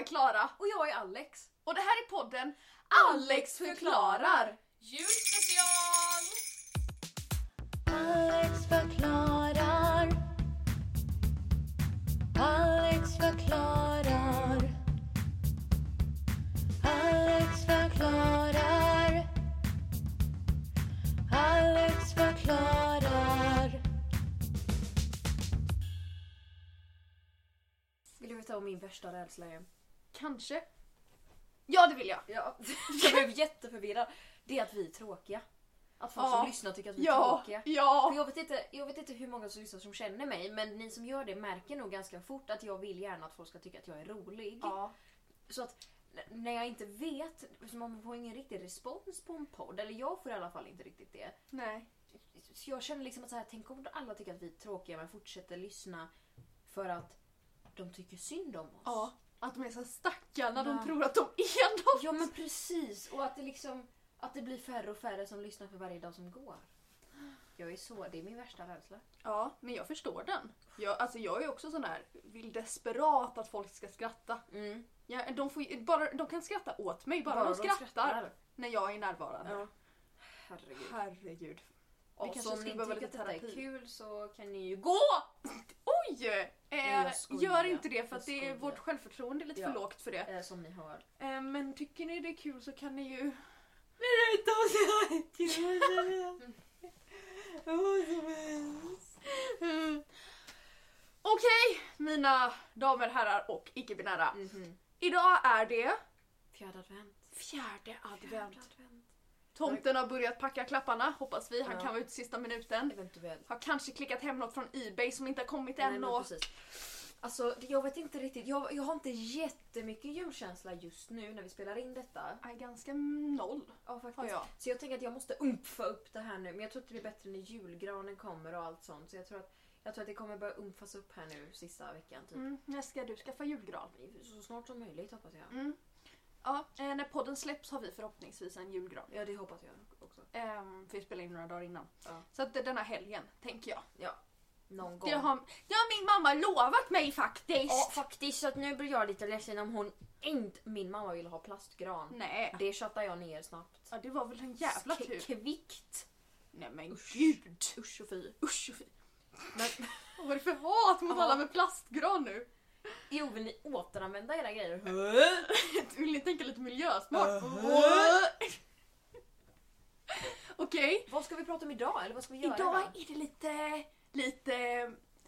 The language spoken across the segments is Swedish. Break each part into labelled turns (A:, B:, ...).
A: är Klara.
B: Och jag är Alex.
A: Och det här är podden
B: Alex förklarar.
C: Julspecial!
D: Alex förklarar. Alex förklarar. Alex förklarar. Alex förklarar.
B: Vill du veta om min värsta rädsla är?
A: Kanske. Ja, det vill jag.
B: Ja. Jag blev jätteförvirrad. Det är att vi är tråkiga. Att folk
A: Ja.
B: som lyssnar tycker att vi är
A: Ja,
B: tråkiga. För
A: ja.
B: jag, vet inte, jag vet inte hur många som lyssnar som känner mig men ni som gör det märker nog ganska fort att jag vill gärna att folk ska tycka att jag är rolig.
A: ja.
B: Så att n- när jag inte vet, så man får ingen riktig respons på en podd. Eller jag får i alla fall inte riktigt det.
A: Nej.
B: Så jag känner liksom att så här, tänk om alla tycker att vi är tråkiga men fortsätter lyssna för att de tycker synd om oss.
A: Ja. Att de är så stackarna,
B: Ja.
A: de tror att de är något.
B: Ja men precis och att det liksom att det blir färre och färre som lyssnar för varje dag som går. Jag är så, det är min värsta rädsla.
A: Ja, men jag förstår den. Jag, alltså jag är också sån här, vill desperat att folk ska skratta. Ja, de, får, ju- bara, de kan skratta åt mig, bara, de, skrattar när jag är närvarande.
B: Ja. Herregud.
A: Herregud.
B: Och
A: Vi kanske
B: så om
A: skulle
B: ni
A: behöva
B: tycker
A: lite
B: att detta är
A: terapi.
B: kul så kan ni ju gå!
A: Oj! Eh,
B: jag
A: gör
B: skojar.
A: inte det för
B: Jag
A: att det är
B: skojar.
A: vårt självförtroende är lite
B: Ja.
A: för lågt för det.
B: Eh, som ni hör.
A: Eh, men tycker ni det är kul så kan ni ju... Mm. Okej, mina damer, herrar och icke-binära.
B: Mhm.
A: Idag är det
B: Fjärde advent.
A: fjärde advent.
B: advent.
A: Tomten har börjat packa klapparna, hoppas vi. Han
B: Ja.
A: kan vara ute sista minuten.
B: Eventuellt.
A: Har kanske klickat hem något från Ebay som inte har kommit
B: Nej,
A: än.
B: men
A: och...
B: precis. Alltså det- jag vet inte riktigt, jag, jag har inte jättemycket julkänsla just nu när vi spelar in detta.
A: Nej, ganska noll
B: Ja,
A: har
B: faktiskt.
A: jag.
B: Så jag tänker att jag måste umfa upp det här nu. Men jag tror att det blir bättre när julgranen kommer och allt sånt. Så jag tror att, jag tror att det kommer börja umfas upp här nu sista veckan. Typ.
A: Mm, när ska du skaffa julgran?
B: Så snart som möjligt hoppas jag.
A: Mm. Ja, eh, när podden släpps har vi förhoppningsvis en julgran.
B: Ja det hoppas jag också.
A: Ehm, för vi spelar in några dagar innan.
B: Ja.
A: Så att det är den här helgen, tänker jag.
B: Någon gång.
A: Det har, det har min mamma lovat mig faktiskt!
B: Ja faktiskt så att nu blir jag lite ledsen om hon inte... Min mamma vill ha plastgran.
A: Nej.
B: Det tjöttar jag ner snabbt.
A: Ja, det var väl en jävla
B: K-
A: tur.
B: Kvickt!
A: Nej men gud!
B: Usch och fy.
A: Usch och fy.
B: Men,
A: Vad var det för hat mot
B: Ja.
A: alla med plastgran nu?
B: jo vill ni återanvända era
C: Mm.
B: grejer?
A: Vill ni tänka lite miljösmart? Okej.
B: Vad ska vi prata om idag? Eller vad ska vi göra
A: Idag är det lite, lite...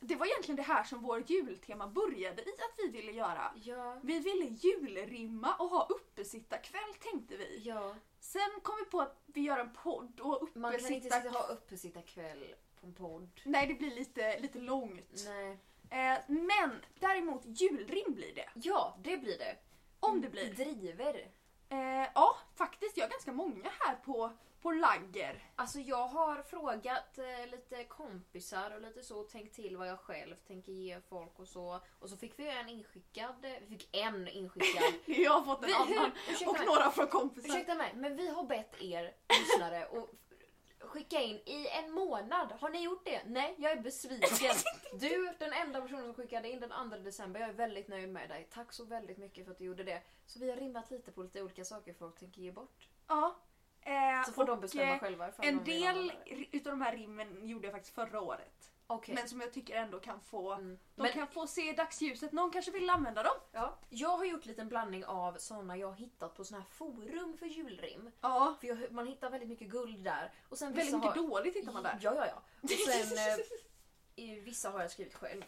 A: Det var egentligen det här som vårt jultema började i att vi ville göra.
B: Ja.
A: Vi ville julrimma och ha uppesittarkväll tänkte vi.
B: Ja.
A: Sen kom vi på att vi gör en podd och
B: Man kan inte sitta,
A: uppesittar...
B: ha uppesitta kväll på en podd.
A: Nej, det blir lite, lite långt.
B: Nej.
A: Eh, men däremot julrim blir det.
B: Ja, det blir det.
A: Om
B: Mm.
A: det blir.
B: Driver.
A: Eh, ja, faktiskt. Jag har ganska många här på, på lagger.
B: Alltså jag har frågat eh, lite kompisar och lite så tänkt till vad jag själv tänker ge folk och så. Och så fick vi en inskickad, eh, vi fick en inskickad.
A: Jag har fått en
B: Vi- hur-
A: annan.
B: ursäkta
A: Och
B: mig.
A: några från kompisar.
B: Ursäkta mig, men vi har bett er lyssnare att skicka in i en månad. Har ni gjort det? Nej, jag är besviken. Du, den enda personen som skickade in den 2 december, jag är väldigt nöjd med dig. Tack så väldigt mycket för att du gjorde det. Så vi har rimmat lite på lite olika saker folk tänker ge bort.
A: Ja. Eh,
B: Så får de
A: och,
B: bestämma
A: eh,
B: själva. ifall
A: En
B: de vill
A: del
B: använda det.
A: utav de här rimmen gjorde jag faktiskt förra året.
B: Okej.
A: Men som jag tycker ändå kan få,
B: Mm.
A: de
B: Men-
A: kan få se dagsljuset. Någon kanske vill använda dem.
B: Ja, jag har gjort lite en blandning av såna jag har hittat på såna här forum för julrim.
A: Ja.
B: För jag, man hittar väldigt mycket guld där. Och sen
A: Väldigt
B: vissa
A: mycket
B: har...
A: dåligt hittar man där.
B: Ja, ja, ja. Och sen, eh, i vissa har jag skrivit själv.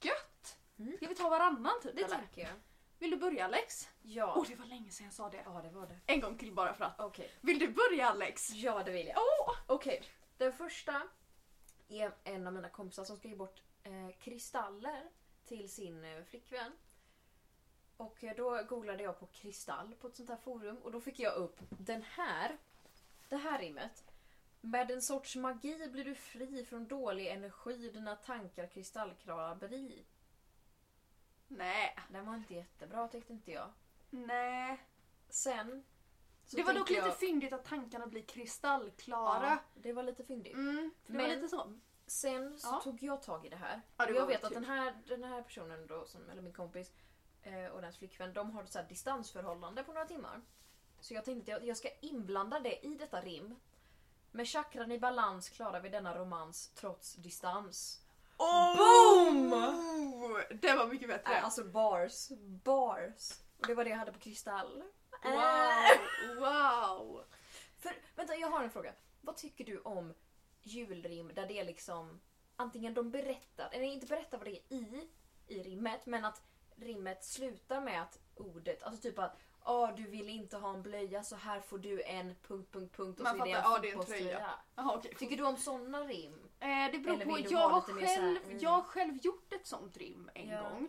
A: Gött!
B: Mm.
A: Ska vi ta varannan typ
B: Det
A: eller?
B: tycker jag.
A: Vill du börja Alex?
B: Ja.
A: Åh det var länge sedan jag sa det.
B: Ja, det var det.
A: En gång till bara för att.
B: Okej.
A: Vill du börja Alex?
B: Ja, det vill jag.
A: Åh!
B: Okej. Den första är en av mina kompisar som ska ge bort eh, kristaller till sin eh, flickvän. Och eh, då googlade jag på kristall på ett sånt här forum och då fick jag upp den här. Det här rimmet. Med en sorts magi blir du fri från dålig energi, dina tankar kristallklara bli.
A: Nej.
B: Ah, Den var inte jättebra tyckte inte jag.
A: Nej.
B: Sen... så
A: det var dock
B: tänker
A: lite
B: jag-
A: fyndigt att tankarna blir kristallklara.
B: Ja, det var lite fyndigt.
A: Mm, det var
B: Men-
A: lite så.
B: Sen så
A: Ja.
B: tog jag tag i det här.
A: Ja, det
B: och jag
A: var typ-
B: vet att
A: tur.
B: den här, den här personen, då, som, eller min kompis, eh, och dens flickvän, de har ett så här distansförhållande på några timmar. Så jag tänkte att jag, jag ska inblanda det i detta rim. Med chakran i balans klarar vi denna romans trots distans.
A: Boom! Det var mycket bättre.
B: Äh, alltså bars. Bars. Och det var det jag hade på kristall. Äh.
A: Wow, wow.
B: För, vänta, jag har en fråga. Vad tycker du om julrim där det är liksom antingen de berättar, eller inte berättar vad det är i, i rimmet, men att rimmet slutar med att ordet, alltså typ att ah, du vill inte ha en blöja så här får du en punkt, punkt, punkt och
A: Man
B: så är det en
A: fattar, "Ah, det är en
B: fotbollströja."
A: tröja. Jaha, okej.
B: Tycker du om sådana rim?
A: Eh, det beror
B: Eller
A: på.
B: vill du
A: Jag har,
B: ha lite mer så här,
A: själv,
B: mm.
A: jag har själv gjort ett sånt rim en
B: Ja.
A: gång.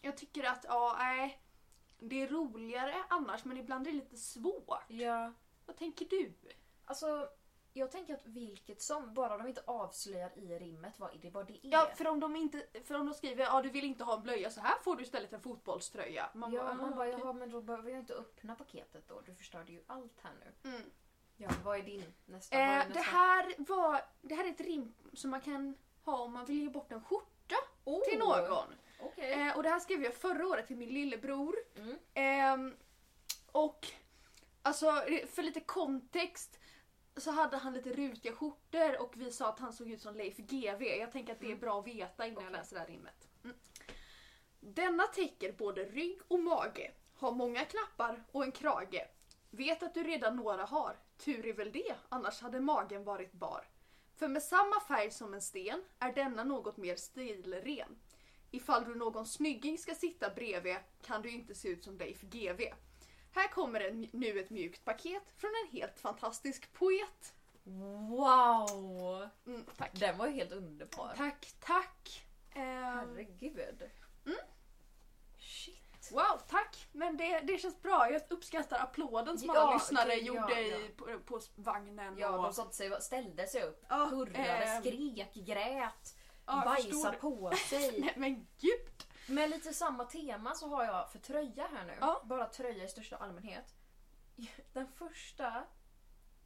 A: Jag tycker att, ja, nej. Det är roligare annars men ibland är det lite svårt.
B: Ja.
A: Vad tänker du?
B: Alltså, jag tänker att vilket som, bara de inte avslöjar i rimmet vad det, vad det är.
A: Ja, för om de, inte, för om de skriver ja du vill inte ha en blöja så här får du istället en fotbollströja. Man
B: ja,
A: bara,
B: man
A: "Ah,
B: bara,
A: okej."
B: jaha men då behöver jag inte öppna paketet då. Du förstörde ju allt här nu.
A: Mm.
B: Ja, vad är din nästa? vad är
A: Eh,
B: nästa?
A: det, här var, det här är ett rim som man kan ha om man vill ge bort en skjorta
B: Oh,
A: till någon.
B: Okej.
A: Eh, och det här skrev jag förra året till min lillebror.
B: Mm.
A: Ehm, och alltså, för lite kontext så hade han lite rutiga skjortor och vi sa att han såg ut som Leif GV. Jag tänker att det är bra att veta innan jag
B: Mm. Okej.
A: läser det här rimmet. Mm. Denna täcker både rygg och mage. Har många knappar och en krage. Vet att du redan några har. Tur är väl det, annars hade magen varit bar. För med samma färg som en sten är denna något mer stilren. Ifall du någon snygging ska sitta bredvid kan du inte se ut som Leif GV. Här kommer en, nu ett mjukt paket från en helt fantastisk poet.
B: Wow!
A: Mm, tack.
B: Den var ju helt underbar.
A: Tack, tack. Ehm,
B: Herregud. Shit.
A: wow, tack. Men det, det känns bra. Jag uppskattar applåden som
B: Ja,
A: alla lyssnare
B: det- ja,
A: gjorde
B: ja.
A: I, på, på vagnen.
B: Ja, de
A: och,
B: satte sig, ställde sig upp,
A: Ja,
B: hurrade,
A: ehm.
B: skrek, grät,
A: Ja, jag förstår
B: bajsade
A: det.
B: på sig.
A: Nej, men gud.
B: Med lite samma tema så har jag för tröja här nu.
A: Ja.
B: Bara tröja i största allmänhet. Den första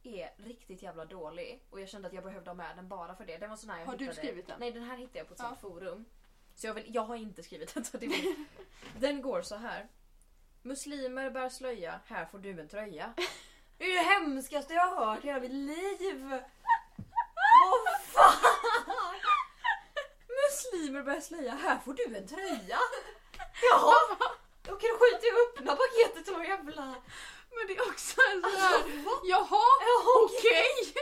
B: är riktigt jävla dålig och jag kände att jag behövde ha med den bara för det. Den var sån här jag
A: Har du
B: hittade-
A: skrivit den?
B: Nej, den här hittade jag på ett
A: Ja.
B: sånt forum. Så jag, vill, jag har inte skrivit den. Så det är min. den går så här. Muslimer bär slöja, här får du en tröja. Det är det hemskaste jag har hört i hela mitt liv! Vad fan! Muslimer bär slöja, här får du en tröja! Ja! Då kan du skita i att öppna paketet och jävla...
A: Men det är också en sån här...
B: Alltså, vad?
A: Jaha,
B: Jaha,
A: okej!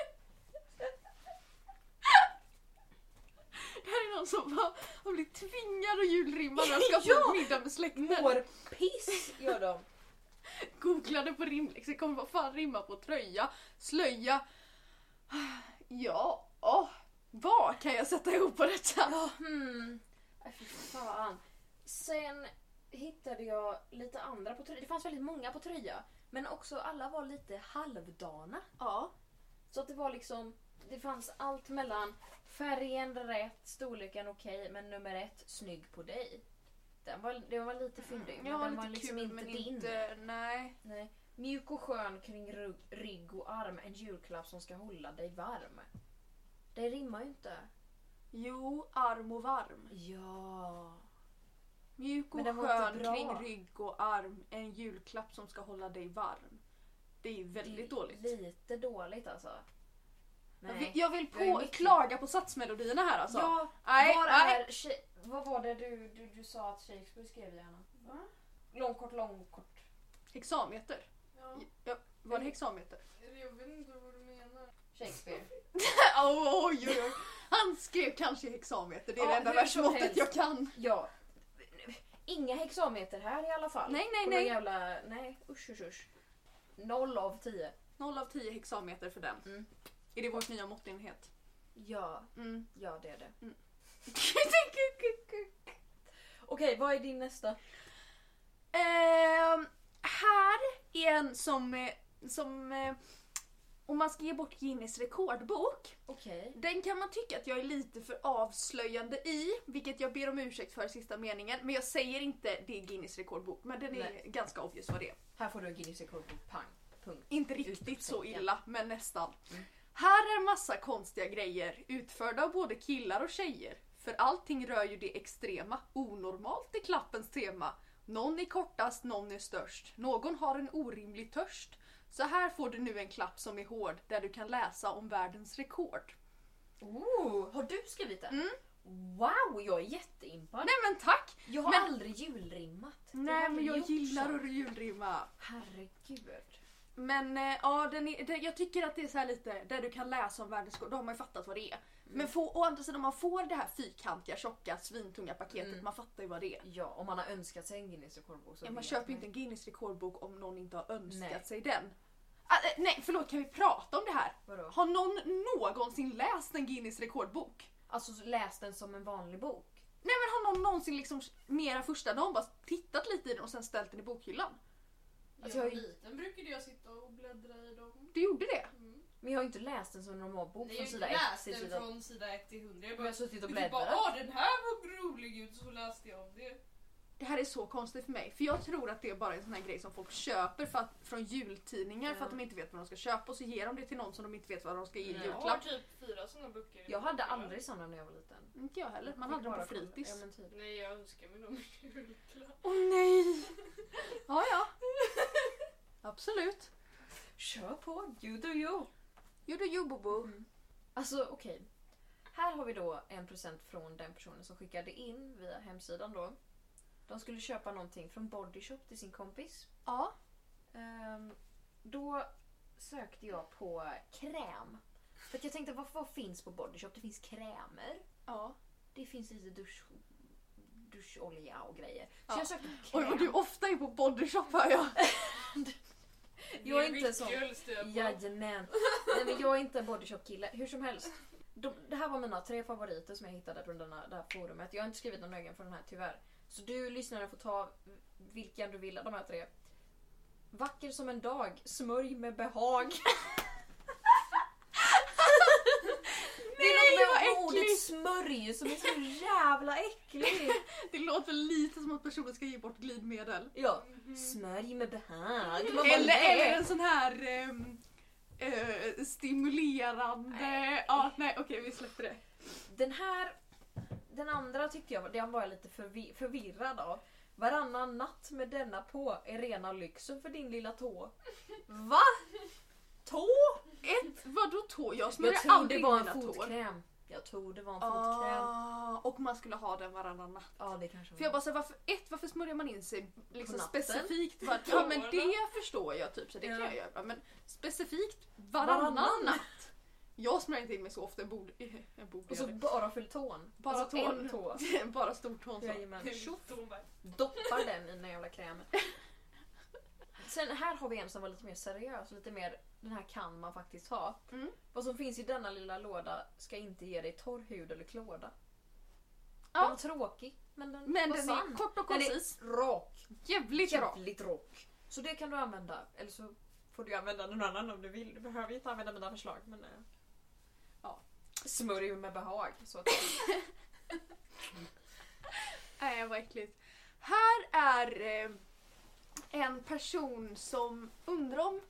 A: Det här är någon som bara, har blivit tvingad att julrimma när han ska
B: Ja!
A: på middag med släkten.
B: Mår piss gör de.
A: Googlade på rimlexikon, vad fan rimmar på tröja, slöja? Ja, åh, vad kan jag sätta ihop på detta?
B: Ja, hmm. Äh, fy fan. Sen hittade jag lite andra på tröja. Det fanns väldigt många på tröja. Men också alla var lite halvdana.
A: Ja,
B: Så att det var liksom, det fanns allt mellan färgen rätt, storleken okej, men nummer ett, snygg på dig. Den var, den var lite fyndig, men
A: Mm, jag har
B: den var
A: lite
B: liksom
A: kul
B: inte
A: men
B: din.
A: inte, nej.
B: Nej. Mjuk och skön kring rygg, rygg och arm, en julklapp som ska hålla dig varm. Det rimmar ju inte.
A: Jo, arm och varm.
B: Ja.
A: Mjuk
B: Men
A: och
B: den var inte
A: skön
B: bra.
A: kring rygg och arm. En julklapp som ska hålla dig varm. Det är ju väldigt
B: Det är
A: dåligt.
B: Lite dåligt alltså.
A: Jag vill, jag vill
B: Jag är
A: på,
B: mycket-
A: klaga på satsmelodierna här alltså.
B: Ja,
A: nej,
B: var
A: nej.
B: är Sha- vad var det du, du, du sa att Shakespeare skrev gärna? Va? Lång, kort, lång, kort.
A: Hexameter.
C: Ja,
A: Ja, var det hexameter?
C: jag vet inte vad du menar.
B: Shakespeare.
A: Oh, oj, oj, oj. Han skrev kanske hexameter. Det är
B: Ja,
A: det enda
B: hur som
A: versmåttet
B: helst.
A: jag kan.
B: ja. Inga hexameter här i alla fall.
A: Nej, nej,
B: På
A: nej.
B: någon Jävla, nej, usch, usch, usch. Noll av tio.
A: Noll av tio hexameter för den.
B: Mm.
A: Är det vår nya måttenhet?
B: Ja,
A: Mm.
B: ja det är det.
A: Mm.
B: Okej, vad är din nästa?
A: Ehm, här är en som, eh, som eh, om man ska ge bort Guinness rekordbok
B: Okej.
A: Den kan man tycka att jag är lite för avslöjande i, vilket jag ber om ursäkt för i sista meningen. Men jag säger inte det är Guinness rekordbok, men den är
B: Nej.
A: ganska obvious vad det är.
B: Här får du en Guinness rekordbok, pang. Punkt.
A: Inte riktigt så
B: Utropstecken.
A: illa, men nästan. Här är massa konstiga grejer, utförda av både killar och tjejer. För allting rör ju det extrema, onormalt i klappens tema. Någon är kortast, någon är störst. Någon har en orimlig törst. Så här får du nu en klapp som är hård där du kan läsa om världens rekord.
B: Oh, har du skrivit den?
A: Mm.
B: Wow, jag är jätteimpad.
A: Nej men tack!
B: Jag har
A: men-
B: aldrig julrimmat. Jag har
A: Nej men
B: aldrig
A: jag
B: gjort
A: gillar
B: så.
A: att julrimma.
B: Herregud.
A: Men eh, ja, den är, den, jag tycker att det är så här lite där du kan läsa om världens gård, då har man ju fattat vad det är.
B: Mm.
A: Men få, å andra sidan om man får det här fyrkantiga, tjocka, svintunga paketet,
B: Mm.
A: man fattar ju vad det är.
B: Ja, om man har önskat sig en Guinness rekordbok så
A: Ja, man
B: vet
A: köper ju inte en Guinness rekordbok om någon inte har önskat
B: Nej.
A: sig den. Ah, eh, nej förlåt, kan vi prata om det här?
B: Vadå?
A: Har någon någonsin läst en Guinness rekordbok?
B: Alltså så läs den som en vanlig bok.
A: Nej men har någon någonsin liksom mer än första dagen bara tittat lite i den och sen ställt den i bokhyllan?
B: Alltså,
C: jag
B: jag-
C: var liten brukade jag sitta och bläddra i dem.
A: Du gjorde det?
C: Mm.
B: Men jag har inte läst den som en normal bok
C: Nej,
B: från
C: jag
B: sida 1
C: läste
B: till
C: den
B: sida
C: från sida 1 till 100. Jag
B: Men jag har
C: bara,
B: suttit och
C: jag bara
B: bläddrat.
C: åh den här var rolig ut så läste jag om det.
A: Det här är så konstigt för mig, för jag tror att det är bara en sån här grej som folk köper för att, från jultidningar för att
B: Ja.
A: de inte vet vad de ska köpa och så ger de det till någon som de inte vet vad de ska ge i
B: Nej.
C: Jag har
A: julklapp.
C: typ fyra sådana böcker. i
B: Jag hade
C: bokhyllan.
B: aldrig såna när jag var liten.
A: Inte jag heller, man
B: Fick
A: hade dem på
B: bara kolla. Ja,
A: fritids.
B: men typ.
C: Nej jag önskar mig dem i julklapp.
A: Åh nej! Ja, ja. Absolut.
B: Kör på, you do you.
A: Jo, du, jo, bobo.
B: Alltså okej. Här har vi då en present från den personen som skickade in via hemsidan då. De skulle köpa någonting från Body Shop till sin kompis.
A: Ja.
B: Ehm, då sökte jag på kräm. För att jag tänkte vad, vad finns på Body Shop? Det finns krämer.
A: ja.
B: Det finns lite dusch, duscholja och grejer. Så
A: Ja.
B: jag sökte på
A: Oj,
B: kräm.
A: vad du ofta är på bodyshop hör jag.
B: Jag är inte sån.
C: sån.
B: Jajamän. Nej, men jag är inte en bodyshop-kille. Hur som helst. De, det här var mina tre favoriter som jag hittade på denna, det här forumet. Jag har inte skrivit någon egen för den här tyvärr. Så du lyssnare får ta vilken du vill av de här tre. Vacker som en dag, smörj med behag. det
A: Nej,
B: är något
A: vad
B: med ordet
A: äckligt.
B: smörj som är så jävla äckligt.
A: Det låter lite som att personen ska ge bort glidmedel.
B: Ja, smörj med behag. Vad var
A: Mm-hmm. Eller,
B: det?
A: eller en sån här ehm, eh, stimulerande...
B: Nej.
A: Ja, nej okej vi släpper det.
B: Den här, den andra tyckte jag den var jag lite förvi- förvirrad av. Varannan natt med denna på är rena lyxen för din lilla tå. Va? Tå?
A: Ett, vadå tår? Jag smörjer
B: Jag tror det
A: aldrig
B: var
A: mina
B: en
A: tår.
B: fotkräm. Jag tror det var en fotkräm.
A: Ah, och man skulle ha den varannan natt.
B: Ja, det kanske
A: För
B: var.
A: jag bara så här, varför, ett, varför smörjer man in sig liksom
B: På natten?
A: specifikt? Var, ja men
C: Tårna.
A: det förstår jag typ, så det kan
B: Ja.
A: jag göra. Men specifikt varannan,
B: Varannan.
A: natt. Jag smörjer inte in mig så ofta, jag borde, jag borde
B: Och så
A: göra det.
B: Alltså, bara för tån.
A: Bara
B: alltså
A: tån.
B: en tå.
A: Bara stortån så.
B: Jajamän. Tjoff.
C: Hon bara,
B: Doppar den i den jävla krämen. Sen här har vi en som var lite mer seriös. Lite mer, den här kan man faktiskt ha.
A: Mm.
B: Vad som finns i denna lilla låda ska inte ge dig torr hud eller klåda.
A: Ja.
B: Den var tråkig, men den
A: Men
B: var
A: den
B: sann.
A: är kort och
B: Den är
A: koncis.
B: rak.
A: Jävligt bra.
B: Jävligt rak. Så det kan du använda. Eller så får du använda någon annan om du vill. Du behöver ju inte använda mina förslag. Men, eh, ja. Smörj med behag. Så att,
A: Nej vad äckligt. Här är eh, en person som undrar om,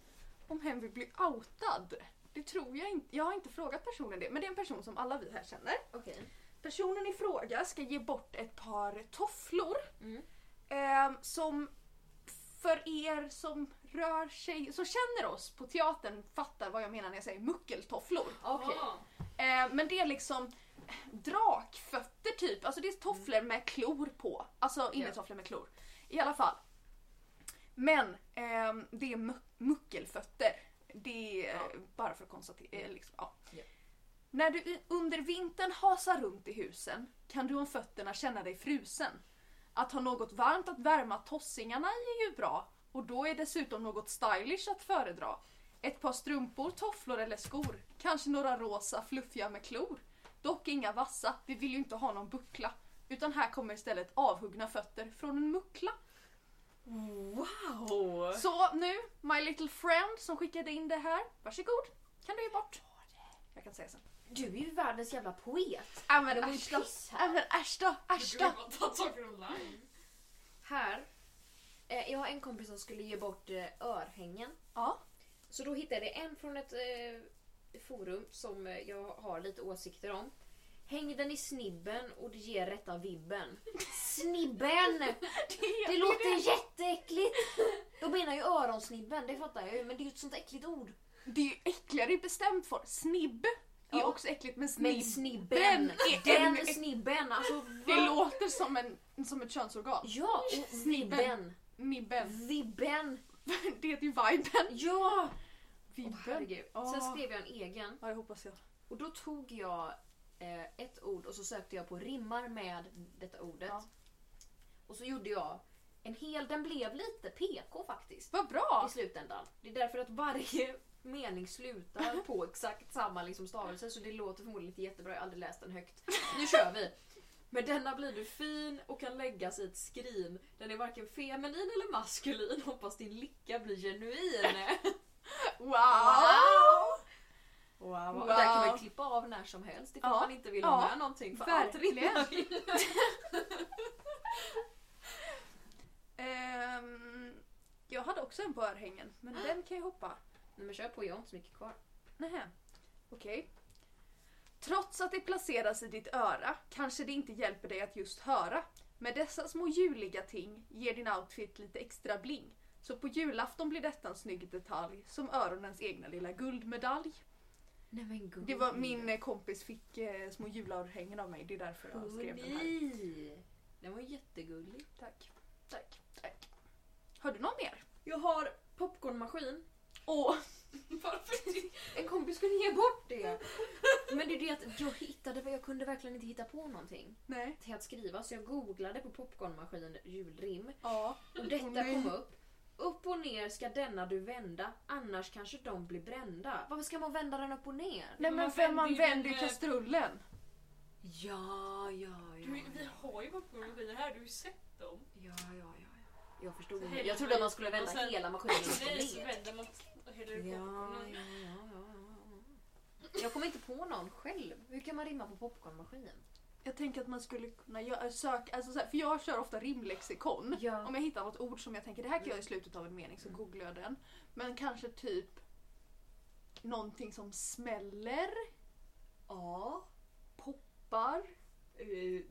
A: om hen vill bli outad. Det tror jag inte. Jag har inte frågat personen det. Men det är en person som alla vi här känner.
B: okay.
A: Personen i fråga ska ge bort ett par tofflor.
B: Mm.
A: Eh, som för er som rör sig, som känner oss på teatern fattar vad jag menar när jag säger muckeltofflor.
C: "Ah,
A: Eh, men det är liksom drakfötter typ. Alltså det är tofflor med klor på. Alltså innertofflor med klor. I alla fall. Men ehm, det är mu- muckelfötter. Det är eh,
B: Ja.
A: bara för att konstatera. eh, Liksom, ja.
B: Ja.
A: När du i- under vintern hasar runt i husen kan du om fötterna känna dig frusen. Att ha något varmt att värma tossingarna i är ju bra och då är dessutom något stylish att föredra. Ett par strumpor, tofflor eller skor. Kanske några rosa fluffiga med klor. Dock inga vassa, vi vill ju inte ha någon buckla. Utan här kommer istället avhuggna fötter från en muckla.
B: Wow!
A: Så nu, my little friend som skickade in det här, varsågod. Kan du ge bort? Jag kan säga sen.
B: Du är ju världens jävla poet.
A: Äh men
B: Det var ju
A: äsch då.
B: piss här.
A: Äh men äsch då,
C: Du
A: äsch
C: kunde
A: då.
C: bara ta saker online.
B: Här. Eh, jag har en kompis som skulle ge bort eh, örhängen.
A: Ja.
B: Så då hittade jag en från ett eh, forum som eh, jag har lite åsikter om. Häng den i snibben och det ger rätta vibben. Snibben!
A: Det,
B: Det låter Snibben, det fattar jag ju. Men det är ju ett sånt äckligt ord.
A: Det är ju äckligare i bestämt form. Snibb är
B: Ja.
A: också äckligt men snibb.
B: Men snibben!
A: är ännu
B: Den
A: äck-
B: snibben! Alltså
A: Det
B: vad?
A: låter som, en, som ett könsorgan.
B: Ja! Och
A: Snibben.
B: vibben.
A: Nibben.
B: Vibben!
A: Det heter ju viben.
B: Ja! Åh,
A: Vibben.
B: herregud.
A: Ah.
B: Sen skrev jag en egen.
A: Ja, det hoppas jag.
B: Och då tog jag eh, ett ord och så sökte jag på rimmar med detta ordet.
A: Ja.
B: Och så gjorde jag en hel, den blev lite PK faktiskt.
A: Vad bra!
B: i slutändan. Det är därför att varje mening slutar på exakt samma liksom stavelse så det låter förmodligen inte jättebra, jag har aldrig läst den högt. Nu kör vi! Med denna blir du fin och kan läggas i ett skrin. Den är varken feminin eller maskulin. Hoppas din lycka blir genuin.
A: Wow!
B: Wow. Och där kan man ju klippa av när som helst ifall
A: Ja.
B: man inte vill ha
A: Ja.
B: med någonting. För
A: Verkligen.
B: allt rimmar.
A: Ehm, jag hade också en på örhängen, men den kan jag hoppa.
B: Nej men kör på, jag har inte så mycket kvar.
A: Nähä. Okej. Trots att det placeras i ditt öra kanske det inte hjälper dig att just höra. Med dessa små juliga ting ger din outfit lite extra bling. Så på julafton blir detta en snygg detalj som öronens egna lilla guldmedalj.
B: Nej men gud.
A: Det var min eh, kompis fick eh, små julörhängen av mig, det är därför jag skrev den här.
B: Geni! Den var jättegullig.
A: Tack. Tack. Tack. Har du någon mer?
B: Jag har popcornmaskin.
A: Åh,
C: Varför det?
B: En kompis kunde ge bort det. Men det är det att jag hittade, jag kunde verkligen inte hitta på någonting
A: nej.
B: till att skriva så jag googlade på popcornmaskin julrim
A: Ja.
B: och detta
A: Åh, nej.
B: kom upp. Upp och ner ska denna du vända, annars kanske de blir brända. Varför ska man vända den upp och ner?
A: Nej men
C: Man
A: för man
C: vänder ju
A: vänder ju
C: den, eh,
A: kastrullen.
B: Ja, ja,
C: Du,
B: ja.
C: vi har ju popcornmaskiner här, du har ju sett dem.
B: Ja, ja, ja. ja. Jag förstod inte. Jag trodde att man skulle vända
C: Och sen-
B: hela maskinen upp och
C: Nej, så
B: ner.
C: vänder man och häller
B: Ja,
C: upp
B: ja,
C: popcornen.
B: ja, ja, ja. Jag kom inte på någon själv. Hur kan man rimma på popcornmaskin?
A: Jag tänker att man skulle kunna göra, söka, alltså så här, för jag kör ofta rimlexikon.
B: Ja.
A: Om jag hittar något ord som jag tänker det här kan jag i slutet av en mening så googlar jag den. Men kanske typ någonting som smäller,
B: Ja.
A: poppar.
B: Eh,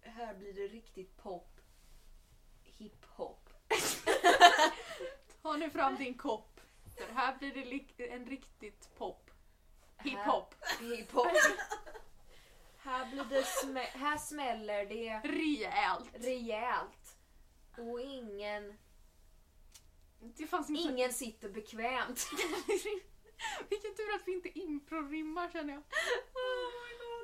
B: här blir det riktigt pop. Hiphop.
A: Ta nu fram din kopp. För här blir det lik- en riktigt pop. Hiphop.
B: Hiphop. här, blir det smä- här smäller det
A: Rejält.
B: rejält.
C: Mm.
B: Och ingen,
A: Det fanns inte...
B: ingen sitter bekvämt.
A: Vilken tur att vi inte improrimmar känner jag.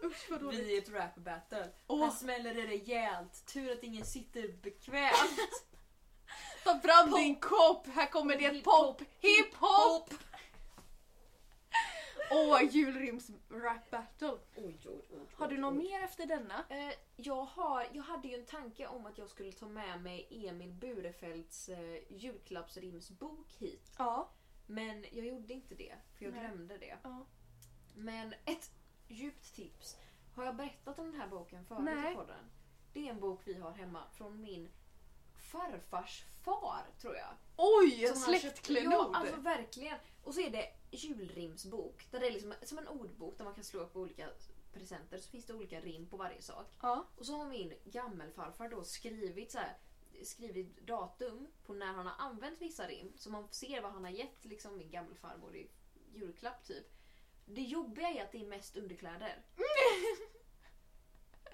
A: Usch vad dåligt.
B: Vi är ett rap battle. Här
A: Åh,
B: smäller det rejält. Tur att ingen sitter bekvämt.
A: ta fram
B: Pop.
A: din kopp, här kommer det ett
B: Hiphop.
A: pop. Hiphop! Åh, julrims rap battle.
B: Oj, oj, oj,
A: Har du något mer efter denna?
B: Eh, jag, har, jag hade ju en tanke om att jag skulle ta med mig Emil Burefelds eh, julklappsrimsbok hit.
A: Ja.
B: Men jag gjorde inte det, för jag
A: Nej.
B: glömde det.
A: Ja.
B: Men ett djupt tips. Har jag berättat om den här boken förut
A: Nej.
B: i podden? Det är en bok vi har hemma från min farfars far, tror jag.
A: Oj,
B: Som han köpte- Ja,
A: släktklenod!
B: alltså verkligen. Och så är det julrimsbok. Där det är liksom som en ordbok där man kan slå upp olika presenter. Så finns det olika rim på varje sak.
A: Ja.
B: Och så har min gammelfarfar då skrivit så här, skrivit datum på när han har använt vissa rim. Så man ser vad han har gett liksom min gammelfarmor i julklapp typ. Det jobbiga är att det är mest underkläder.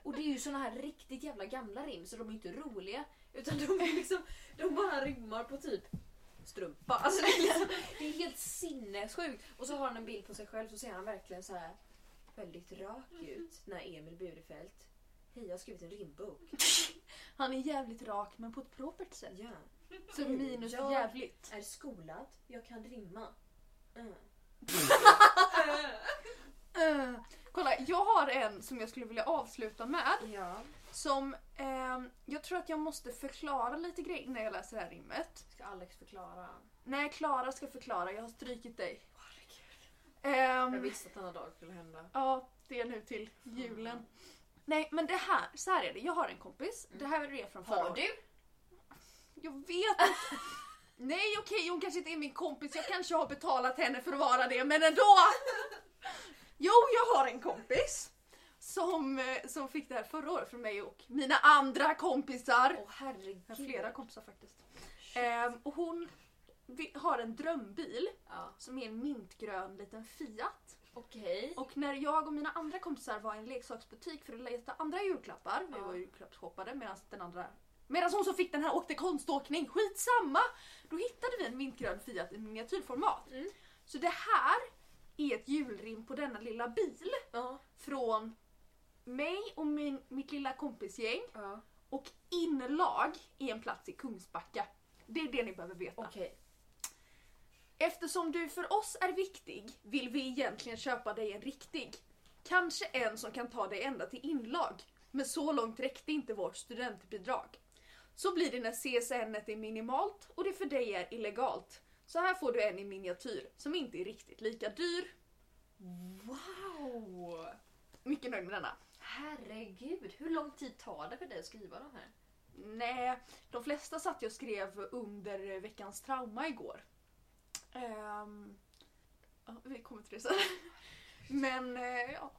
B: Och det är ju såna här riktigt jävla gamla rim så de är inte roliga. Utan de, är liksom, de bara rimmar på typ strumpa. Alltså det, är liksom, det är helt sinnessjukt. Och så har han en bild på sig själv så ser han verkligen så här väldigt rak ut när Emil Burefelt Hej, jag har skrivit en rimbok.
A: Han är jävligt rak men på ett propert sätt.
B: Ja.
A: Så minus
B: Jag-
A: jävligt.
B: Är skolad. Jag kan rimma. Mm.
A: Eh, kolla, jag har en som jag skulle vilja avsluta med.
B: Ja.
A: Som ehm, jag tror att jag måste förklara lite grejer när jag läser det här rimmet.
B: Ska Alex förklara?
A: Nej, Klara ska förklara. Jag har strykit dig. Ehm,
B: Jag visste att denna dag skulle hända.
A: ja, det är nu till julen. Nej, men det här. Så här är det. Jag har en kompis. Det här är från förra året.
B: du?
A: Mm. Jag vet inte. Nej, okej, hon kanske inte är min kompis. Jag kanske har betalat henne för att vara det, men ändå. Jo, jag har en kompis. Som, eh, som fick det här förra året från mig och mina andra kompisar.
B: Åh herregud.
A: Jag har flera kompisar faktiskt. Ehm, och hon vi har en drömbil
B: Ja.
A: som är en mintgrön liten Fiat.
B: Okej.
A: Och när jag och mina andra kompisar var i en leksaksbutik för att leta andra julklappar, vi
B: Ja.
A: var julklappsshoppade medan den andra Medan hon som fick den här åkte konståkning, skitsamma! Då hittade vi en mintgrön Fiat i miniatyrformat.
B: Mm.
A: Så det här är ett julrim på denna lilla bil
B: Ja.
A: från mig och min, mitt lilla kompisgäng
B: ja.
A: och inlag i en plats i Kungsbacka. Det är det ni behöver veta.
B: Okej.
A: Eftersom du för oss är viktig vill vi egentligen köpa dig en riktig. Kanske en som kan ta dig ända till inlag. Men så långt räckte inte vårt studentbidrag. Så blir det när CSN et är minimalt och det för dig är illegalt. Så här får du en i miniatyr som inte är riktigt lika dyr.
B: Wow!
A: Mycket nöjd med denna.
B: Herregud, hur lång tid tar det för dig att skriva de här?
A: Nej, de flesta satt jag och skrev under eh, veckans trauma igår. Ehm, ja, vi kommer till det sen. Men eh, ja,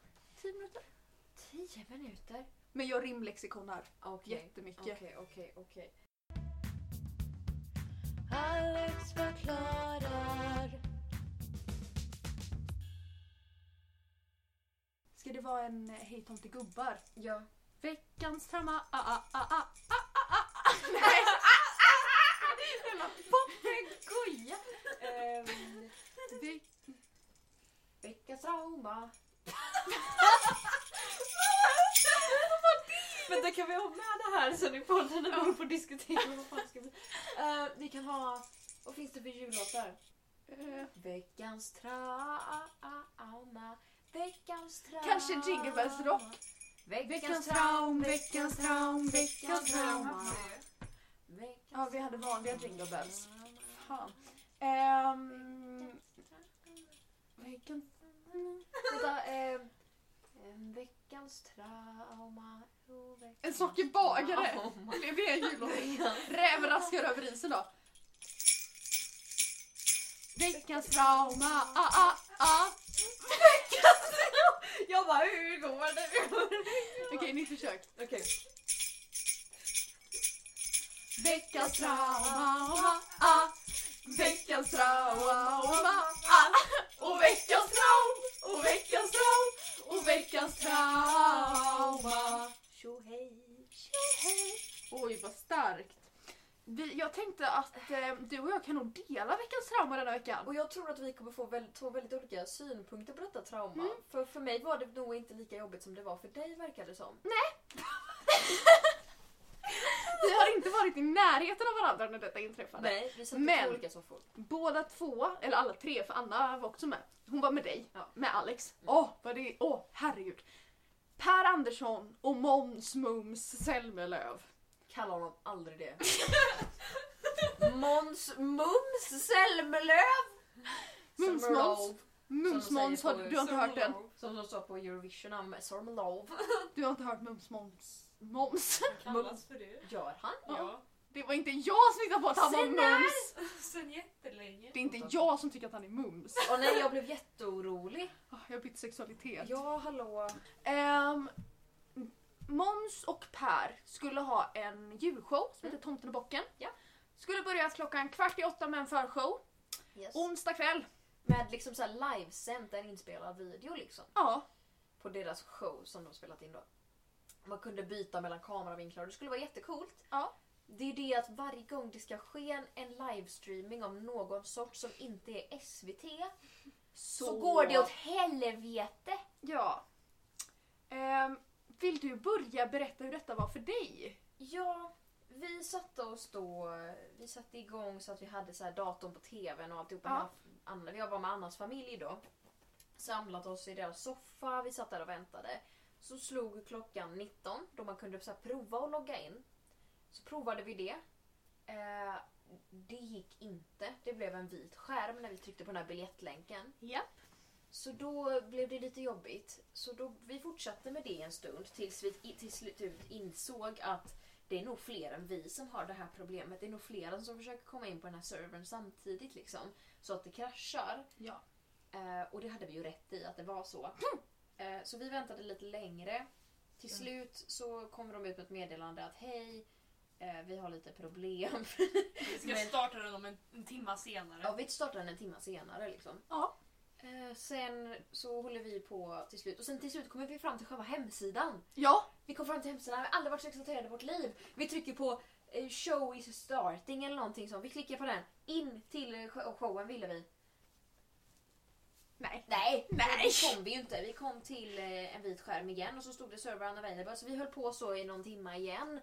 A: tio minuter.
B: Tio minuter?
A: Men jag rimlexikonar
B: Okej.
A: jättemycket.
B: Okej, okej, okej.
D: Alex förklarar.
A: Ska det vara en eh, Hej tomte gubbar?
B: Ja.
A: Veckans trauma, ah, ah, ah, ah.
B: Papegoja! Ehm,
A: Ve-
B: Veckans trauma. Men då kan vi ha med det här sen i podden när vi får diskutera vad fan det ska bli. Eh, vi kan ha... Vad finns det för jullåtar?
A: eh,
B: Veckans trauma. Veckans trauma.
A: Kanske Jingle Bells Rock? Veckans traum, veckans traum, veckans trauma.
B: Veckans
A: Ja, vi hade vanliga Jingle Bells.
B: trauma.
A: Fan. Ehm, veckans...
B: Vänta, eh, en veckans trauma. oh, veckans
A: En sockerbagare!
B: trauma.
A: Det är en jullåt. Rävraskar över isen då. Veckans trauma, ah, ah, ah.
B: Jag bara, hur går det?
A: Okej, nytt försök.
B: Okej.
A: Veckans trauma, ah. Veckans trauma, ah. Och veckans traum, och veckans traum, och veckans trauma.
B: Tjo hej.
A: Oj, vad starkt. Vi, jag tänkte att eh, du och jag kan nog dela veckans trauma denna veckan.
B: Och jag tror att vi kommer få väl, två väldigt olika synpunkter på detta trauma.
A: Mm.
B: För för mig var det nog inte lika jobbigt som det var för dig verkar det som.
A: Mm. Vi har inte varit i närheten av varandra när detta inträffade.
B: Nej, vi satt i
A: Men-
B: två olika soffor.
A: Båda två, eller alla tre för Anna var också med. Hon var med dig,
B: Ja.
A: med Alex. Åh, vad det Åh, herregud. Per Andersson och Måns Mums Zelmerlöw.
B: Kalla honom aldrig det. Måns Mums Zelmerlöw!
A: Mums,
B: Zelmerlöw,
A: Måns. Mums
B: Som de
A: Måns, har,
B: säger på-
A: du har inte hört den.
B: Som de sa på Eurovision, om Zelmerlöw.
A: Du har inte hört Mums Måns. Moms.
C: Kallas för det.
B: Gör han?
C: Ja.
A: Det var inte jag som hittade på att han var
B: Se där!
A: Mums.
C: Sen jättelänge.
A: Det är inte jag som tycker att han är Mums.
B: Åh nej, jag blev jätteorolig.
A: Ah, Jag har bytt sexualitet.
B: Ja, hallå.
A: Ehm, Måns och Per skulle ha en julshow som heter Tomten och bocken.
B: Mm. Ja.
A: Skulle börja klockan kvart i åtta med en förshow. Onsdag kväll.
B: Med liksom så här livesänt, en inspelad video liksom.
A: Ja.
B: På deras show som de spelat in då. Man kunde byta mellan kameravinklar det skulle vara jättecoolt.
A: Ja.
B: Det är det att varje gång det ska ske en, en livestreaming av någon sort som inte är SVT så, går det åt helvete.
A: Ja. Ehm, vill du börja berätta hur detta var för dig?
B: Ja, vi satte oss då, vi satte igång så att vi hade så här datorn på tvn och alltihopa.
A: Ja.
B: Ja. Anna, jag var med Annas familj då. Samlat oss i deras soffa, vi satt där och väntade. Så slog klockan 19 då man kunde så här prova att logga in. Så provade vi det. Eh, det gick inte. Det blev en vit skärm när vi tryckte på den här biljettlänken.
A: Ja.
B: Så då blev det lite jobbigt. Så då, vi fortsatte med det en stund tills vi i- till slut ut insåg att det är nog fler än vi som har det här problemet. Det är nog fler som försöker komma in på den här servern samtidigt liksom. Så att det kraschar.
A: Ja.
B: Eh, och det hade vi ju rätt i att det var så. Eh, så vi väntade lite längre. Till slut så kom de ut med ett meddelande att hej, Eh, vi har lite problem.
C: Vi ska
B: Men-
C: starta den om en, en timma senare.
B: ja, vi startar den en timme senare liksom.
A: Ja.
B: Eh, sen så håller vi på till slut. Och sen till slut kommer vi fram till själva hemsidan.
A: Ja,
B: Vi kom fram till hemsidan, vi har aldrig varit så exalterade i vårt liv. Vi trycker på eh, show is starting eller någonting sånt. Vi klickar på den. In till eh, sho- showen ville vi.
A: nej.
B: Nej,
A: Nej.
B: det kom vi ju inte. Vi kom till eh, en vit skärm igen och så stod det server unavailable. Så vi höll på så i någon timma igen.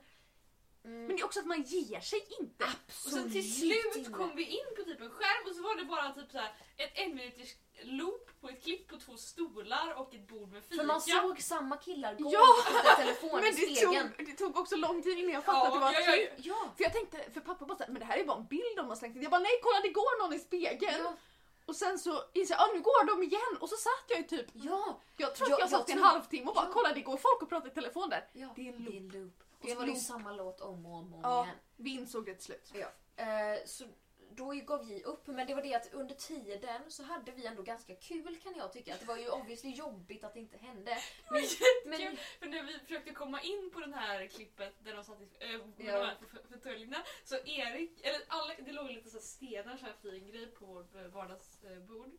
B: Mm.
A: Men det är också att man ger sig inte.
C: Och sen till slut kom vi in på typ en skärm och så var det bara typ så här ett en minuters loop på ett klipp på två stolar och ett bord med fika.
B: För man såg samma killar gå
A: Ja.
B: efter telefon
A: Men
B: i
A: det
B: stegen.
A: tog, det tog också lång tid innan jag fattade
C: ja,
A: att det var
C: ja, ja, ja.
B: Ja,
A: För jag tänkte, för pappa bara såhär, men det här är bara en bild de har slängt in. Jag bara nej kolla det går någon i spegeln.
B: ja,
A: Och sen så insåg jag, ah, nu går de igen. Och så satt jag ju typ,
B: ja,
A: jag tror att
B: Ja,
A: jag
B: jag
A: satt i en
B: tror-
A: halvtimme och bara
B: ja.
A: kolla det går folk och pratar i telefon där.
B: ja.
A: Det är en
B: Det är en loop.
A: Det är
B: Och
A: en
B: så var det ju
A: loop.
B: samma låt om och om och om
A: Ja.
B: igen.
A: Vi insåg det till slut.
B: Eh, så då gav vi upp, men det var det att under tiden så hade vi ändå ganska kul kan jag tycka. Att det var ju obviously jobbigt att det inte hände. Men, men,
C: För när vi försökte komma in på den här klippet där de satt i, äh,
B: Ja.
C: ja. på f- fåtöljerna så Erik, eller Alex, det låg lite så här stenar, så här fin grej på vårt eh, vardagsbord.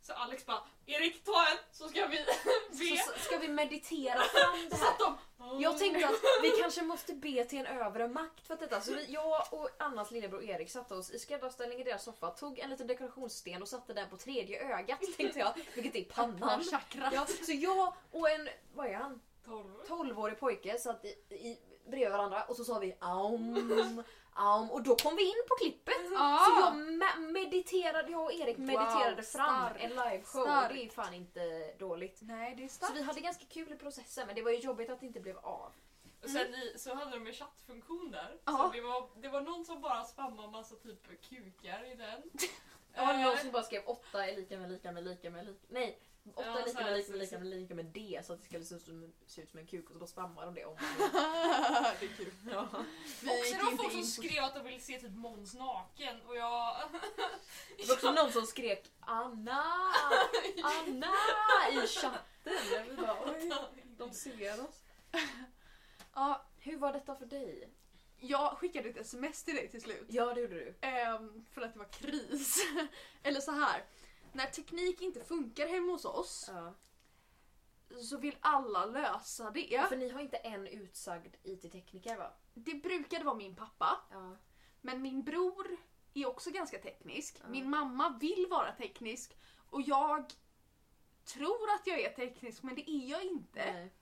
C: Så Alex bara Erik ta en så ska vi be.
B: så, ska vi meditera fram det
C: Så
B: här?
C: satt de
B: Jag tänkte att vi kanske måste be till en övre makt för att detta. Så vi, jag och Annas lillebror Erik satte oss i skräddarställning i deras soffa, tog en liten dekorationssten och satte den på tredje ögat tänkte jag, vilket är pannan.
A: Chakra.
B: Ja, så jag och en, vad är han?
C: Torv.
B: 12-årig pojke satt i, i, bredvid varandra och så sa vi aum, aum och då kom vi in på klippet.
A: Ah.
B: Så jag me- mediterade, jag och Erik mediterade
A: Wow,
B: fram
A: starkt,
B: en liveshow och
A: starkt.
B: det är fan inte dåligt.
A: Nej det är
B: Så vi hade ganska kul i processen men det var ju jobbigt att det inte blev av.
C: Och sen i, så hade de en chattfunktion där.
A: Ja.
C: Så det, var, det var någon som bara spammade massa typ kukar i den.
B: Det var
C: Eh,
B: någon som bara skrev 8 är lika med lika med lika med lika Nej, 8
C: Ja,
B: är lika
C: så
B: med
C: här,
B: lika
C: så-
B: med lika med lika med D så att det skulle se ut som, se ut som en kuk och så bara spammade de det om och om.
A: det är kul.
B: Ja.
A: Vi
C: Också
A: gick
C: det var
A: inte
C: folk
A: in
C: som
A: på-
C: skrev att de ville se typ Måns naken och jag...
B: Det var också någon som skrek Anna! Anna! i chatten. Vi bara, "Oj." De ser oss.
A: Ja,
B: Hur var detta för dig?
A: jag skickade ett sms till dig till slut.
B: Ja, det gjorde du.
A: Ehm, för att det var kris. Eller så här. När teknik inte funkar hemma hos oss
B: Ja.
A: så vill alla lösa det.
B: För ni har inte en utsagd IT-tekniker va?
A: Det brukade vara min pappa.
B: Ja.
A: Men min bror är också ganska teknisk.
B: Ja.
A: Min mamma vill vara teknisk och jag tror att jag är teknisk men det är jag inte.
B: Nej.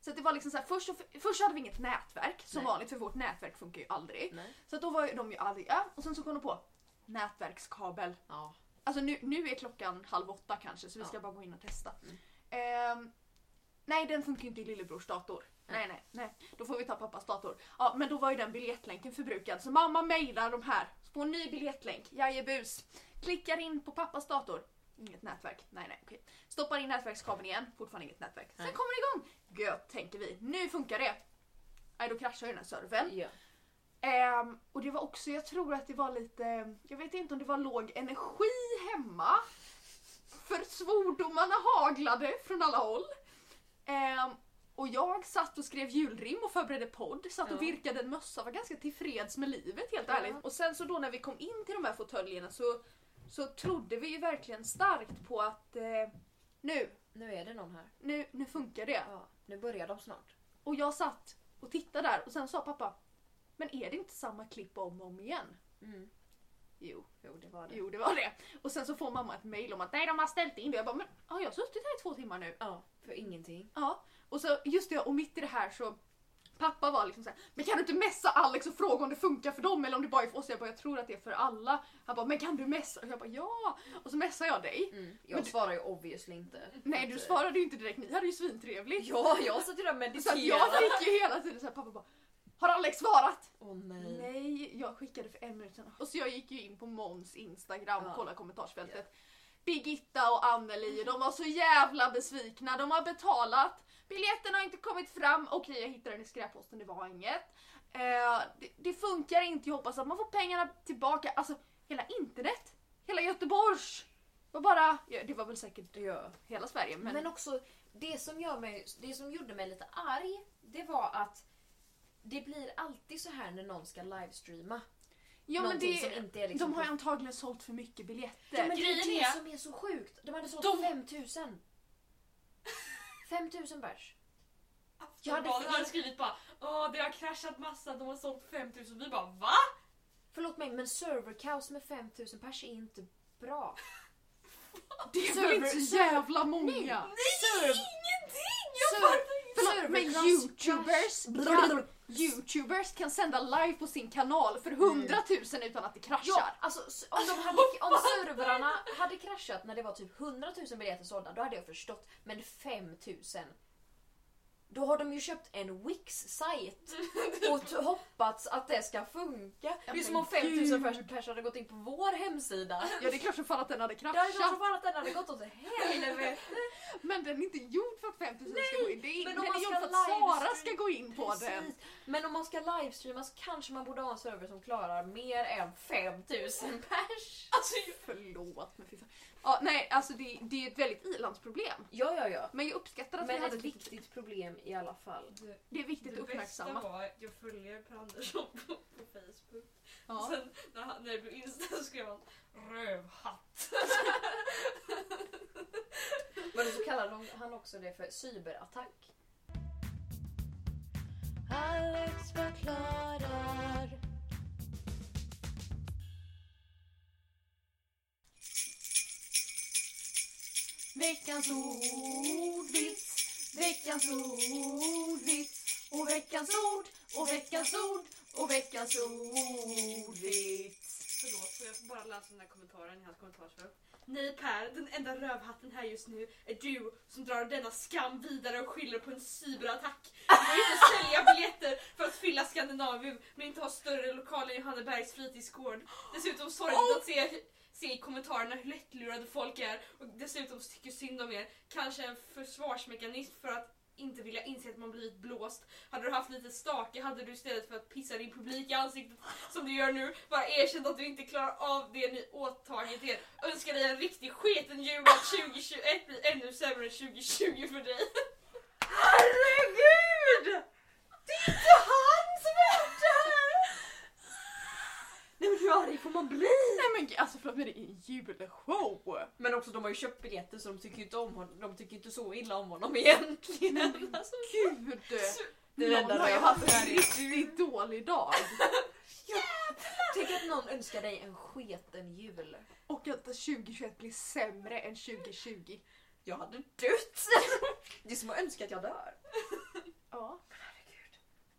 A: Så att det var liksom så här, först, och f- först hade vi inget nätverk som
B: Nej.
A: vanligt för vårt nätverk funkar ju aldrig.
B: Nej.
A: Så att då var ju de ju arga och sen så kom de på nätverkskabel.
B: Ja.
A: Alltså nu, nu är klockan halv åtta kanske så vi ska
B: Ja.
A: bara gå in och testa.
B: Mm.
A: Ehm, nej den funkar ju inte i lillebrors dator. Nej.
B: Nej.
A: nej nej, då får vi ta pappas dator. Ja men då var ju den biljettlänken förbrukad så mamma mejlar de här. På en ny biljettlänk, jajebus. Klickar in på pappas dator. Inget nätverk, nej nej okej. Stoppar in nätverkskabeln igen, fortfarande inget nätverk. Sen
B: Nej.
A: kommer det igång! Gött tänker vi, nu funkar det. Nej då kraschar ju den här servern.
B: ja.
A: Ehm, och det var också, jag tror att det var lite, jag vet inte om det var låg energi hemma. För svordomarna haglade från alla håll. Ehm, och jag satt och skrev julrim och förberedde podd, satt och
B: Ja.
A: virkade en mössa, var ganska tillfreds med livet helt
B: Ja.
A: ärligt. Och sen så då när vi kom in till de här fåtöljerna så, så trodde vi ju verkligen starkt på att eh, nu,
B: Nu är det någon här.
A: nu, nu funkar det.
B: Ja. Nu börjar de snart.
A: Och jag satt och tittade där och sen sa pappa, men är det inte samma klipp om och om igen?
B: Mm.
A: Jo.
B: Jo, det var det.
A: Jo, det var det. Och sen så får mamma ett mail om att nej, de har ställt in det. Jag bara, men har jag suttit här i två timmar nu?
B: Ja, för ingenting.
A: Ja. Och så just det, och mitt i det här så Pappa var liksom såhär, men kan du inte messa Alex och fråga om det funkar för dem eller om det bara är för oss? Jag bara, jag tror att det är för alla. Han bara, men kan du messa? Och jag bara, ja! Och så messar jag dig.
B: Mm.
A: Men
B: Jag
A: du-
B: svarar ju obviously inte. eh,
A: Nej, du svarade ju inte direkt, ni hade ju svintrevligt.
B: Ja, jag satt ju
A: Så
B: där och
A: att
B: mediterade.
A: jag fick ju hela tiden såhär, pappa bara, har Alex svarat?
B: Åh nej.
A: Nej, jag skickade för en minut sedan. Mm. Och så jag gick ju in på Måns Instagram
B: Ja.
A: och kollade kommentarsfältet. Birgitta och Anneli, de var så jävla besvikna. De har betalat. Biljetten har inte kommit fram. Okej, jag hittade den i skräpposten, det var inget. Eh, det, det funkar inte, jag hoppas att man får pengarna tillbaka. Alltså, hela internet, hela Göteborgs. Var bara, ja, det var väl säkert
B: Ja.
A: hela Sverige, men,
B: Men, också, det som, gör mig, det som gjorde mig lite arg, det var att det blir alltid så här när någon ska livestreama.
A: Ja men
B: Någonting som
A: det,
B: inte är liksom
A: de har ju antagligen sålt för mycket biljetter.
B: Ja, men det
C: Grejen
B: är
C: är-
B: det som är så sjukt. De hade sålt
C: De-
B: 5000. 5000 bärs.
C: Aftonbladet hade skrivit bara Åh, det har kraschat massa, de har sålt 5000. Vi bara VA?
B: Förlåt mig, men serverkaos med 5000 pers är inte bra.
A: det är
B: Server-
A: väl inte så jävla många?
B: Serv-
A: Server-
B: server-
A: Förlåt, men
B: klass-
A: youtubers
B: klass-
A: kan, youtubers kan sända live på sin kanal för hundratusen utan att det
B: Ja,
A: kraschar.
B: alltså s- om, de hade, om servrarna hade kraschat när det var typ 100 000 biljetter sålda, då hade jag förstått. Men 5 000? Då har de ju köpt en Wix-sajt och t- hoppats att det ska funka. Det är
A: men
B: som om 5 000
A: gud.
B: pers- personer hade gått in på vår hemsida.
A: Ja, det är klart som fan att den hade
B: Det hade känts
A: kraschat.
B: som fan att den hade gått åt helvete.
A: Men den är inte gjord för att 5000 ska gå in. Det är,
B: men om
A: den
B: man
A: är gjord
B: ska
A: för att Sara
B: livestream-
A: ska gå in på den.
B: Precis. Men om man ska livestreama så kanske man borde ha en server som klarar mer än 5000 pers.
C: Alltså,
A: Förlåt men fy fan. Ja, nej, alltså det, det är ett väldigt ilandsproblem.
B: Ja, ja, ja.
A: Men jag uppskattar att vi
B: Men
A: hade
B: ett
A: ett viktigt,
B: viktigt problem i alla fall.
C: det,
A: det är viktigt att
C: det bästa
A: uppmärksamma.
C: var att jag följer Per Andersson på, på Facebook.
A: Ja.
C: Sen när, han, när det blev insta så skrev han rövhatt.
B: Men så kallar de, han också det för cyberattack.
D: Alex förklarar.
A: Veckans ordvits, veckans ordvits och veckans ord och veckans ord och veckans ordvits.
C: Förlåt, får jag bara läsa den här kommentaren i hans kommentarsfält? Nej Per, den enda rövhatten här just nu är du som drar denna skam vidare och skyller på en cyberattack. Du vill inte sälja biljetter för att fylla Skandinavien men inte ha större lokaler än Johannebergs fritidsgård. Dessutom sorgligt att se, se i kommentarerna hur lättlurade folk är och dessutom tycker synd om er. Kanske en försvarsmekanism för att inte vilja inse att man blivit blåst. Hade du haft lite stake hade du istället för att pissa din publik i ansiktet som du gör nu, bara erkänt att du inte klarar av det ni åtagit er. Önskar dig en riktig sketen jul och att 2021 blir ännu sämre än 2020 för dig.
B: Herregud! Det är inte han som har gjort det här! Nej men hur arg får man bli?
A: Nej men gud, alltså förlåt men det är en julshow.
B: Men också de har ju köpt biljetter så de tycker ju inte om honom. De tycker inte så illa om honom egentligen. Alltså,
A: Gud!
B: Den
A: Någon
B: enda
A: har ju
B: röven
A: haft
B: här
A: en
B: är-
A: riktigt dålig dag.
B: Tänk att någon önskar dig en sketen jul.
A: Och att 2021 blir sämre än 2020.
B: Jag hade dött! Det är som att önska att jag dör.
A: Ja.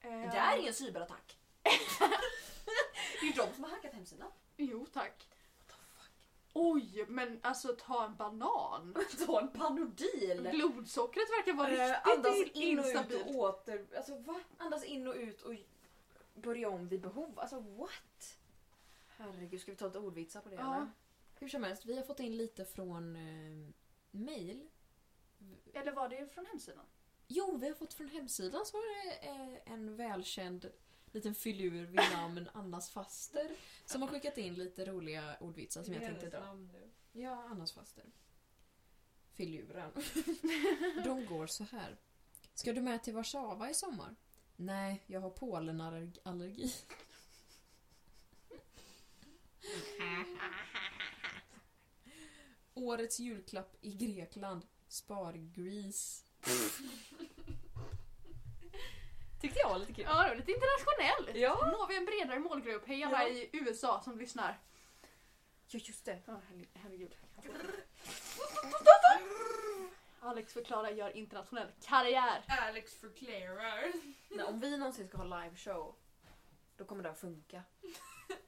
A: Eh,
B: Det
A: Herregud.
B: där är ingen cyberattack. Det är ju de som har hackat hemsidan.
A: Jo tack. Oj, men alltså ta en banan.
B: Ta en Panodil!
A: Blodsockret verkar vara
B: Eh,
A: riktigt
B: Andas in och ut och
A: instabilt.
B: åter... Alltså va? Andas in och ut och börja om vid behov. Alltså what? Herregud, ska vi ta ett ordvitsar på det
A: Ja.
B: eller? Hur som helst, vi har fått in lite från eh, mail.
A: Eller var det från hemsidan?
B: Jo, vi har fått från hemsidan så var det eh, en välkänd liten filur vid namn Annas faster som har skickat in lite roliga ordvitsar som jag tänkte dra. Ja, Annas faster. Filuren. De går så här. Ska du med till Warszawa i sommar? Nej, jag har pollenallergi. Årets julklapp i Grekland. Spargris. Tyckte jag var lite kul.
A: Ja, det var lite internationellt.
B: Ja.
A: Nu har vi en bredare målgrupp. Hej alla
B: Ja.
A: i USA som lyssnar.
B: Ja, just det.
A: Ja, herre- herregud. Alex förklarar gör internationell karriär.
C: Alex förklarar.
B: Nej, om vi någonsin ska ha liveshow, då kommer det att funka.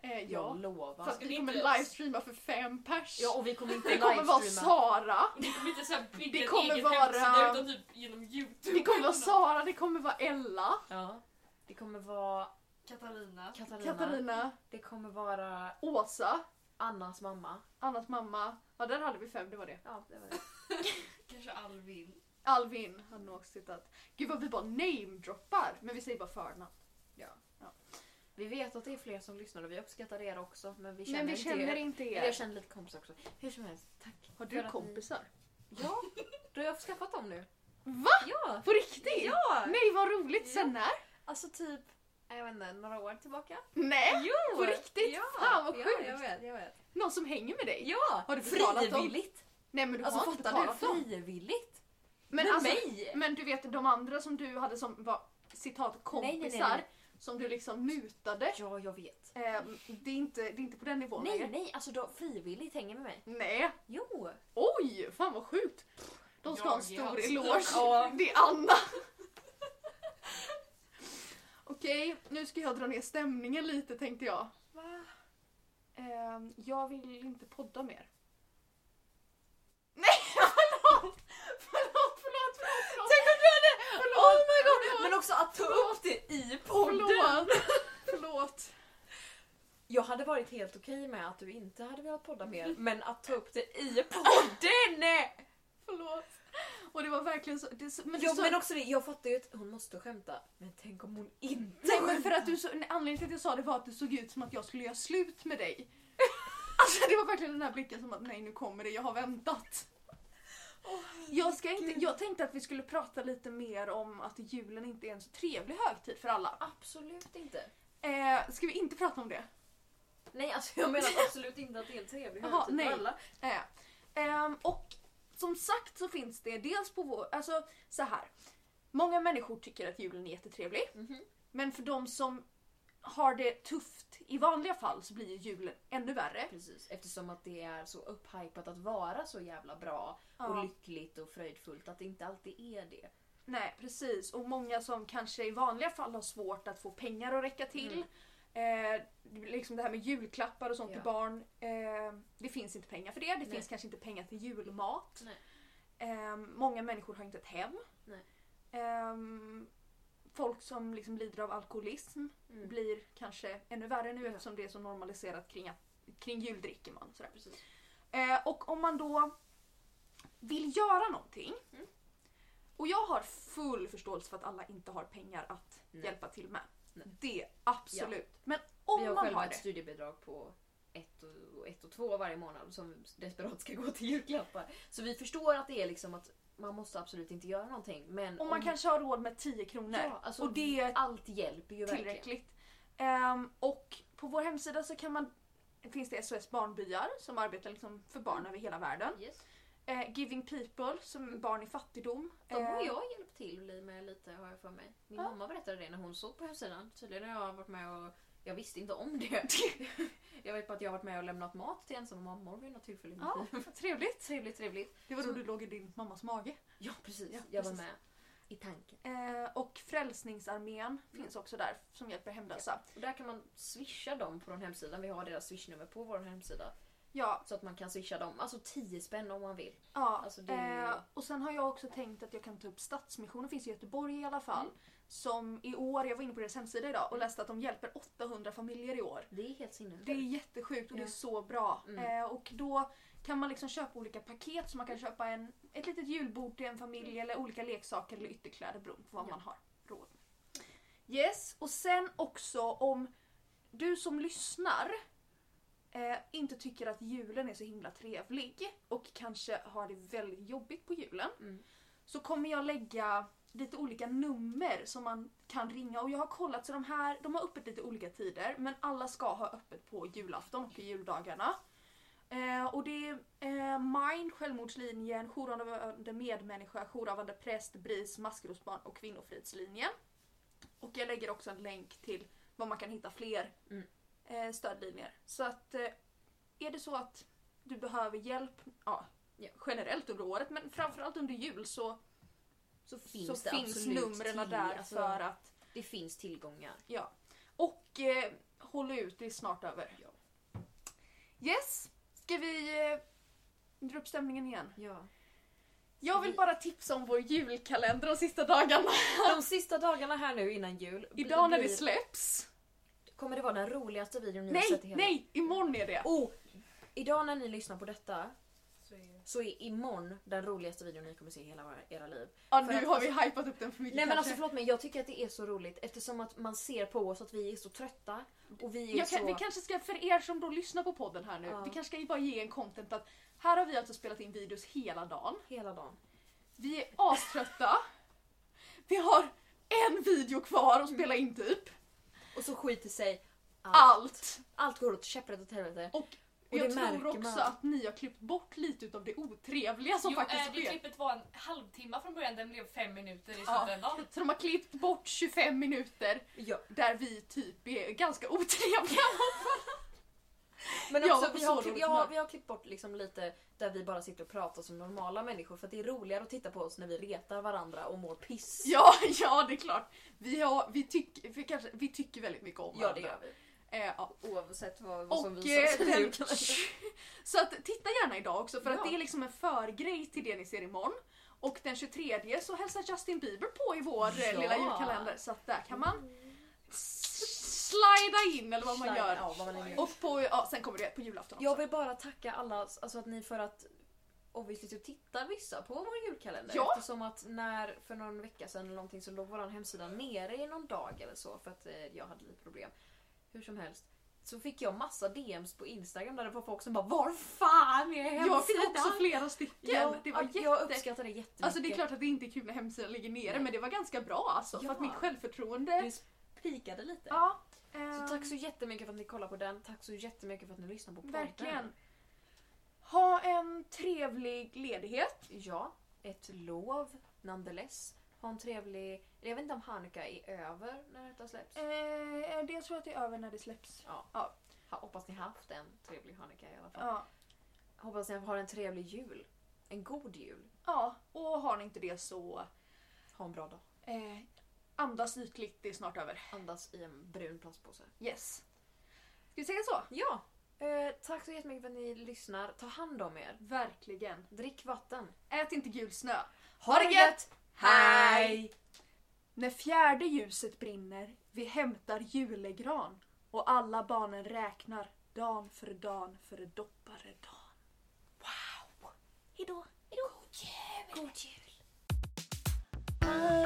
A: Eh,
B: Jag
A: ja.
B: lovar.
A: Fast
C: Ska
A: vi
C: vi
A: kommer
C: inte-
A: livestreama för fem pers.
B: Ja, och vi kommer inte
A: det kommer vara
B: livestreama.
A: Sara.
C: Ni kommer inte så här bygga
A: Det
C: en
A: kommer
C: egen
A: vara-
C: hemsida utan typ genom youtube.
A: Det kommer vara
C: eller något.
A: Sara, det kommer vara Ella,
B: Ja. Det kommer vara
C: Katarina.
B: Katarina.
A: Katarina,
B: Det kommer vara
A: Åsa,
B: Annas mamma.
A: Annas mamma. Ja, där hade vi fem, det var det.
B: Ja, det var det.
C: Kanske Alvin.
A: Alvin hade nog också tittat. Gud vad vi bara namedroppar, men vi säger bara förnamn.
B: Vi vet att det är fler som lyssnar och vi uppskattar er också. Men vi känner,
A: Men vi
B: inte
A: känner
B: er.
A: inte
B: Eller Jag
A: er.
B: känner lite kompisar också. Hur som helst, tack.
A: Har
B: För
A: du
B: att
A: kompisar?
B: Ni... Ja, du har jag skaffat dem nu.
A: Va?
B: Ja!
A: På riktigt?
B: Ja!
A: Nej vad roligt, sen när?
B: Alltså typ jag vet inte, några år tillbaka.
A: Nej!
B: Jo!
A: På riktigt? Fan, vad
B: Ja,
A: sjukt.
B: jag vet, jag vet.
A: Någon som hänger med dig?
B: Ja!
A: Har du betalat dem?
B: frivilligt!
A: Nej men du
B: Alltså
A: har inte
B: fattar du?
A: betalat dem.
B: Frivilligt!
A: Men,
B: Med
A: alltså,
B: mig!
A: men du vet de andra som du hade som var citat kompisar
B: Nej, nej, nej, nej.
A: som du liksom mutade.
B: Ja, jag vet.
A: Eh, det, är inte, det är inte på den nivån
B: Nej,
A: längre.
B: nej, alltså de frivilligt hänger med mig.
A: Nej.
B: Jo!
A: Oj, fan vad sjukt. De ska ha en
C: Jag ger
A: stor
C: allt.
A: eloge.
B: Ja.
A: Det är Anna. Okej, nu ska jag dra ner stämningen lite tänkte jag.
B: Va?
A: Ehm, jag vill inte podda mer. Nej, förlåt! Förlåt, förlåt, förlåt!
B: Tänk om du hade...
A: Förlåt,
B: oh my god!
A: förlåt.
B: Men också att ta upp det i podden!
A: Förlåt! Förlåt!
B: Jag hade varit helt okej med att du inte hade velat podda mer, men att ta upp det i podden!
A: Förlåt! Och det var verkligen så... Det, så- men,
B: Men, ja,
A: så
B: men också det, jag fattar ju att hon måste skämta, men tänk om hon inte
A: nej, men för att du så, nej, anledningen till att jag sa det var att det såg ut som att jag skulle göra slut med dig. Alltså det var verkligen den här blicken som att nej nu kommer det, jag har väntat. Jag, ska inte, jag tänkte att vi skulle prata lite mer om att julen inte är en så trevlig högtid för alla.
B: Absolut inte.
A: Eh, ska vi inte prata om det?
B: Nej, alltså jag menar absolut inte att det är en trevlig
A: Jaha,
B: högtid
A: nej.
B: för alla.
A: Eh, ehm, och som sagt så finns det dels på vår... Alltså så här. Många människor tycker att julen är jättetrevlig.
B: Mhm.
A: Men för de som har det tufft i vanliga fall så blir ju julen ännu värre.
B: Precis, eftersom att det är så upphypat att vara så jävla bra och
A: Ja,
B: lyckligt och fröjdfullt att det inte alltid är det.
A: nej, precis. Och många som kanske i vanliga fall har svårt att få pengar att räcka till. Eh, liksom det här med julklappar och sånt
B: Mm. Ja.
A: till barn. Eh, det finns inte pengar för det. Det
B: Nej.
A: finns kanske inte pengar till julmat.
B: Nej.
A: Eh, många människor har inte ett hem.
B: Nej.
A: Ehm, folk som liksom lider av alkoholism
B: Mm.
A: blir kanske ännu värre nu
B: Ja.
A: eftersom det är så normaliserat kring, att, kring jul dricker man. Sådär.
B: Precis.
A: Eh, och om man då vill göra någonting.
B: Mm.
A: Och jag har full förståelse för att alla inte har pengar att
B: Nej.
A: hjälpa till med.
B: Nej.
A: Det, absolut. Men
B: Vi
A: om
B: har
A: man
B: själva
A: har
B: ett
A: det.
B: studiebidrag på ett och, ett och två varje månad som desperat ska gå till julklappar. Så vi förstår att det är liksom att man måste absolut inte göra någonting. Men
A: Om man kanske har råd med 10 kronor.
B: Ja, alltså,
A: och det är
B: allt hjälper ju verkligen.
A: tillräckligt. Ehm, och på vår hemsida så kan man, finns det SOS Barnbyar som arbetar liksom för barn
B: Mm.
A: över hela världen.
B: Yes.
A: Eh, Giving People som barn i fattigdom.
B: Mm. De har
A: Eh,
B: jag hjälpt till med lite har jag för mig. Min
A: Ja.
B: mamma berättade det när hon såg på hemsidan. Tydligen har jag varit med och jag visste inte om det. jag vet bara att jag har varit med och lämnat mat till ensamma mammor vid något tillfälle. i mitt
A: Ja,
B: liv.
A: vad trevligt.
B: Trevligt, trevligt.
A: Det var då
B: Så-
A: du låg i din mammas mage.
B: Ja precis,
A: Ja,
B: jag var
A: precis.
B: med i tanken.
A: Eh, och Frälsningsarmén finns också där som hjälper hemlösa.
B: Och där kan man swisha dem på den hemsidan. Vi har deras swishnummer på vår hemsida.
A: Ja,
B: Så att man kan swisha dem. Alltså 10 spänn om man vill.
A: ja.
B: Alltså, det är ju-
A: Eh, och sen har jag också tänkt att jag kan ta upp Stadsmissionen, finns i Göteborg i alla fall. Som i år, jag var inne på deras hemsida idag och läste att de hjälper 800 familjer i år.
B: Det är helt sinnes.
A: Det är jättesjukt och det är
B: Ja.
A: så bra.
B: Mm.
A: Eh, och då kan man liksom köpa olika paket så man kan köpa en, ett litet julbord till en familj eller olika leksaker eller ytterkläder beroende på vad
B: Mm. Ja.
A: man har råd med. Yes, och sen också om du som lyssnar eh, inte tycker att julen är så himla trevlig och kanske har det väldigt jobbigt på julen
B: Mm.
A: så kommer jag lägga lite olika nummer som man kan ringa och jag har kollat så de här de har öppet lite olika tider men alla ska ha öppet på julafton och i juldagarna. Eh, och det är eh, Mind, Självmordslinjen, Jourhavande medmänniska, Jourhavande präst, BRIS, Maskrosbarn och Kvinnofridslinjen. Och jag lägger också en länk till var man kan hitta fler
B: Mm.
A: eh, stödlinjer. Så att eh, är det så att du behöver hjälp ja,
B: Ja.
A: generellt under året men framförallt under jul så
B: Så finns
A: så
B: det
A: finns
B: absolut
A: numren
B: till-
A: där
B: alltså,
A: för att...
B: Det finns tillgångar.
A: Ja. Och eh, håll ut, det är snart över.
B: Ja.
A: Yes, ska vi eh, dra upp stämningen igen?
B: Ja.
A: Jag vill
B: vi-
A: bara tipsa om vår julkalender de sista dagarna.
B: De sista dagarna här nu innan jul.
A: Idag när det
B: blir-
A: släpps.
B: Kommer det vara den roligaste videon ni har
A: Nej,
B: sett i hela...
A: nej, imorgon är det.
B: Oh! Idag när ni lyssnar på detta
C: Så är det.
B: så är imorgon den roligaste videon ni kommer se i hela våra- era liv.
A: Ja,
B: för
A: nu
B: att-
A: har vi hypat upp den för mycket
B: Nej men
A: kanske.
B: alltså förlåt mig, jag tycker att det är så roligt eftersom att man ser på oss att vi är så trötta och vi är
A: jag
B: så...
A: kan, vi kanske ska, för er som då lyssnar på podden här nu,
B: Ja.
A: vi kanske ska bara ge en content att här har vi alltså spelat in videos hela dagen.
B: Hela dagen.
A: Vi är aströtta. Vi har en video kvar att spela in typ.
B: Och så skiter sig allt.
A: Allt!
B: Allt går åt käpprätt åt helvete.
A: Och
B: det
A: jag tror
B: märker
A: också
B: man.
A: att ni har klippt bort lite utav det otrevliga som
E: jo,
A: faktiskt
E: eh, det
A: sker.
E: klippet var en halvtimme från början, den blev fem minuter i
A: Ja.
E: slutändan.
A: Så de har klippt bort 25 minuter
B: Ja.
A: där vi typ är ganska otrevliga.
B: Men
A: Ja,
B: också,
A: på
B: vi,
A: så
B: har
A: roligt
B: klippt, ja,
A: humör.
B: vi har klippt bort liksom lite där vi bara sitter och pratar som normala människor för att det är roligare att titta på oss när vi retar varandra och mår piss.
A: Ja, ja det är klart. Vi, har, vi, tyck, vi, kanske, vi tycker väldigt mycket om
B: Ja, det gör vi.
A: Eh, ja.
B: Oavsett vad, vad som
A: Och
B: visas.
A: eh, den... Så att titta gärna idag också för att
B: Ja.
A: det är liksom en förgrej till det ni ser imorgon. Och den 23 så hälsar Justin Bieber på i vår eh,
B: Ja.
A: lilla julkalender så att där kan man s- slida in eller vad man gör.
B: Ja, vad man än gör.
A: Och på, ja, sen kommer det på julafton också.
B: Jag vill bara tacka alla, alltså att ni för att obviously typ tittar vissa på vår julkalender.
A: Ja.
B: Eftersom att när, för någon vecka sedan eller någonting så låg vår hemsida nere i någon dag eller så för att eh, jag hade lite problem. Hur som helst. Så fick jag massa DMs på Instagram där det var folk som bara Var fan är hemsidan?
A: Jag fick också flera stycken.
B: Ja,
A: det var
B: ja, Jag
A: jätte...
B: uppskattar det jättemycket.
A: Alltså det är klart att det inte är kul när hemsidan ligger nere
B: Nej.
A: men det var ganska bra alltså. För
B: Ja.
A: att mitt självförtroende...
B: Det pikade lite.
A: Ja.
B: Så
A: ehm,
B: tack så jättemycket för att ni kollar på den. Tack så jättemycket för att ni lyssnar på podden.
A: Verkligen. Ha en trevlig ledighet.
B: Ja, ett lov nonetheless. Ha en trevlig... Jag vet inte om Hanukkah är över när detta släpps.
A: Eh, det tror jag att det är över när det släpps.
B: Ha, hoppas ni haft en trevlig Hanukkah i alla fall.
A: Ja.
B: Hoppas ni har en trevlig jul. En god jul.
A: ja. Och har ni inte det så
B: Ha en bra dag.
A: eh, andas ytligt, det är snart över.
B: Andas i en brun plastpåse.
A: Yes. Ska vi säga så?
B: Ja! Eh, tack så jättemycket för att ni lyssnar. Ta hand om er.
A: Verkligen.
B: Drick vatten.
A: Ät inte gul snö.
B: Ha det gött! Hej!
A: När fjärde ljuset brinner, vi hämtar julegran och alla barnen räknar dan för dan för doppare dan.
D: Alla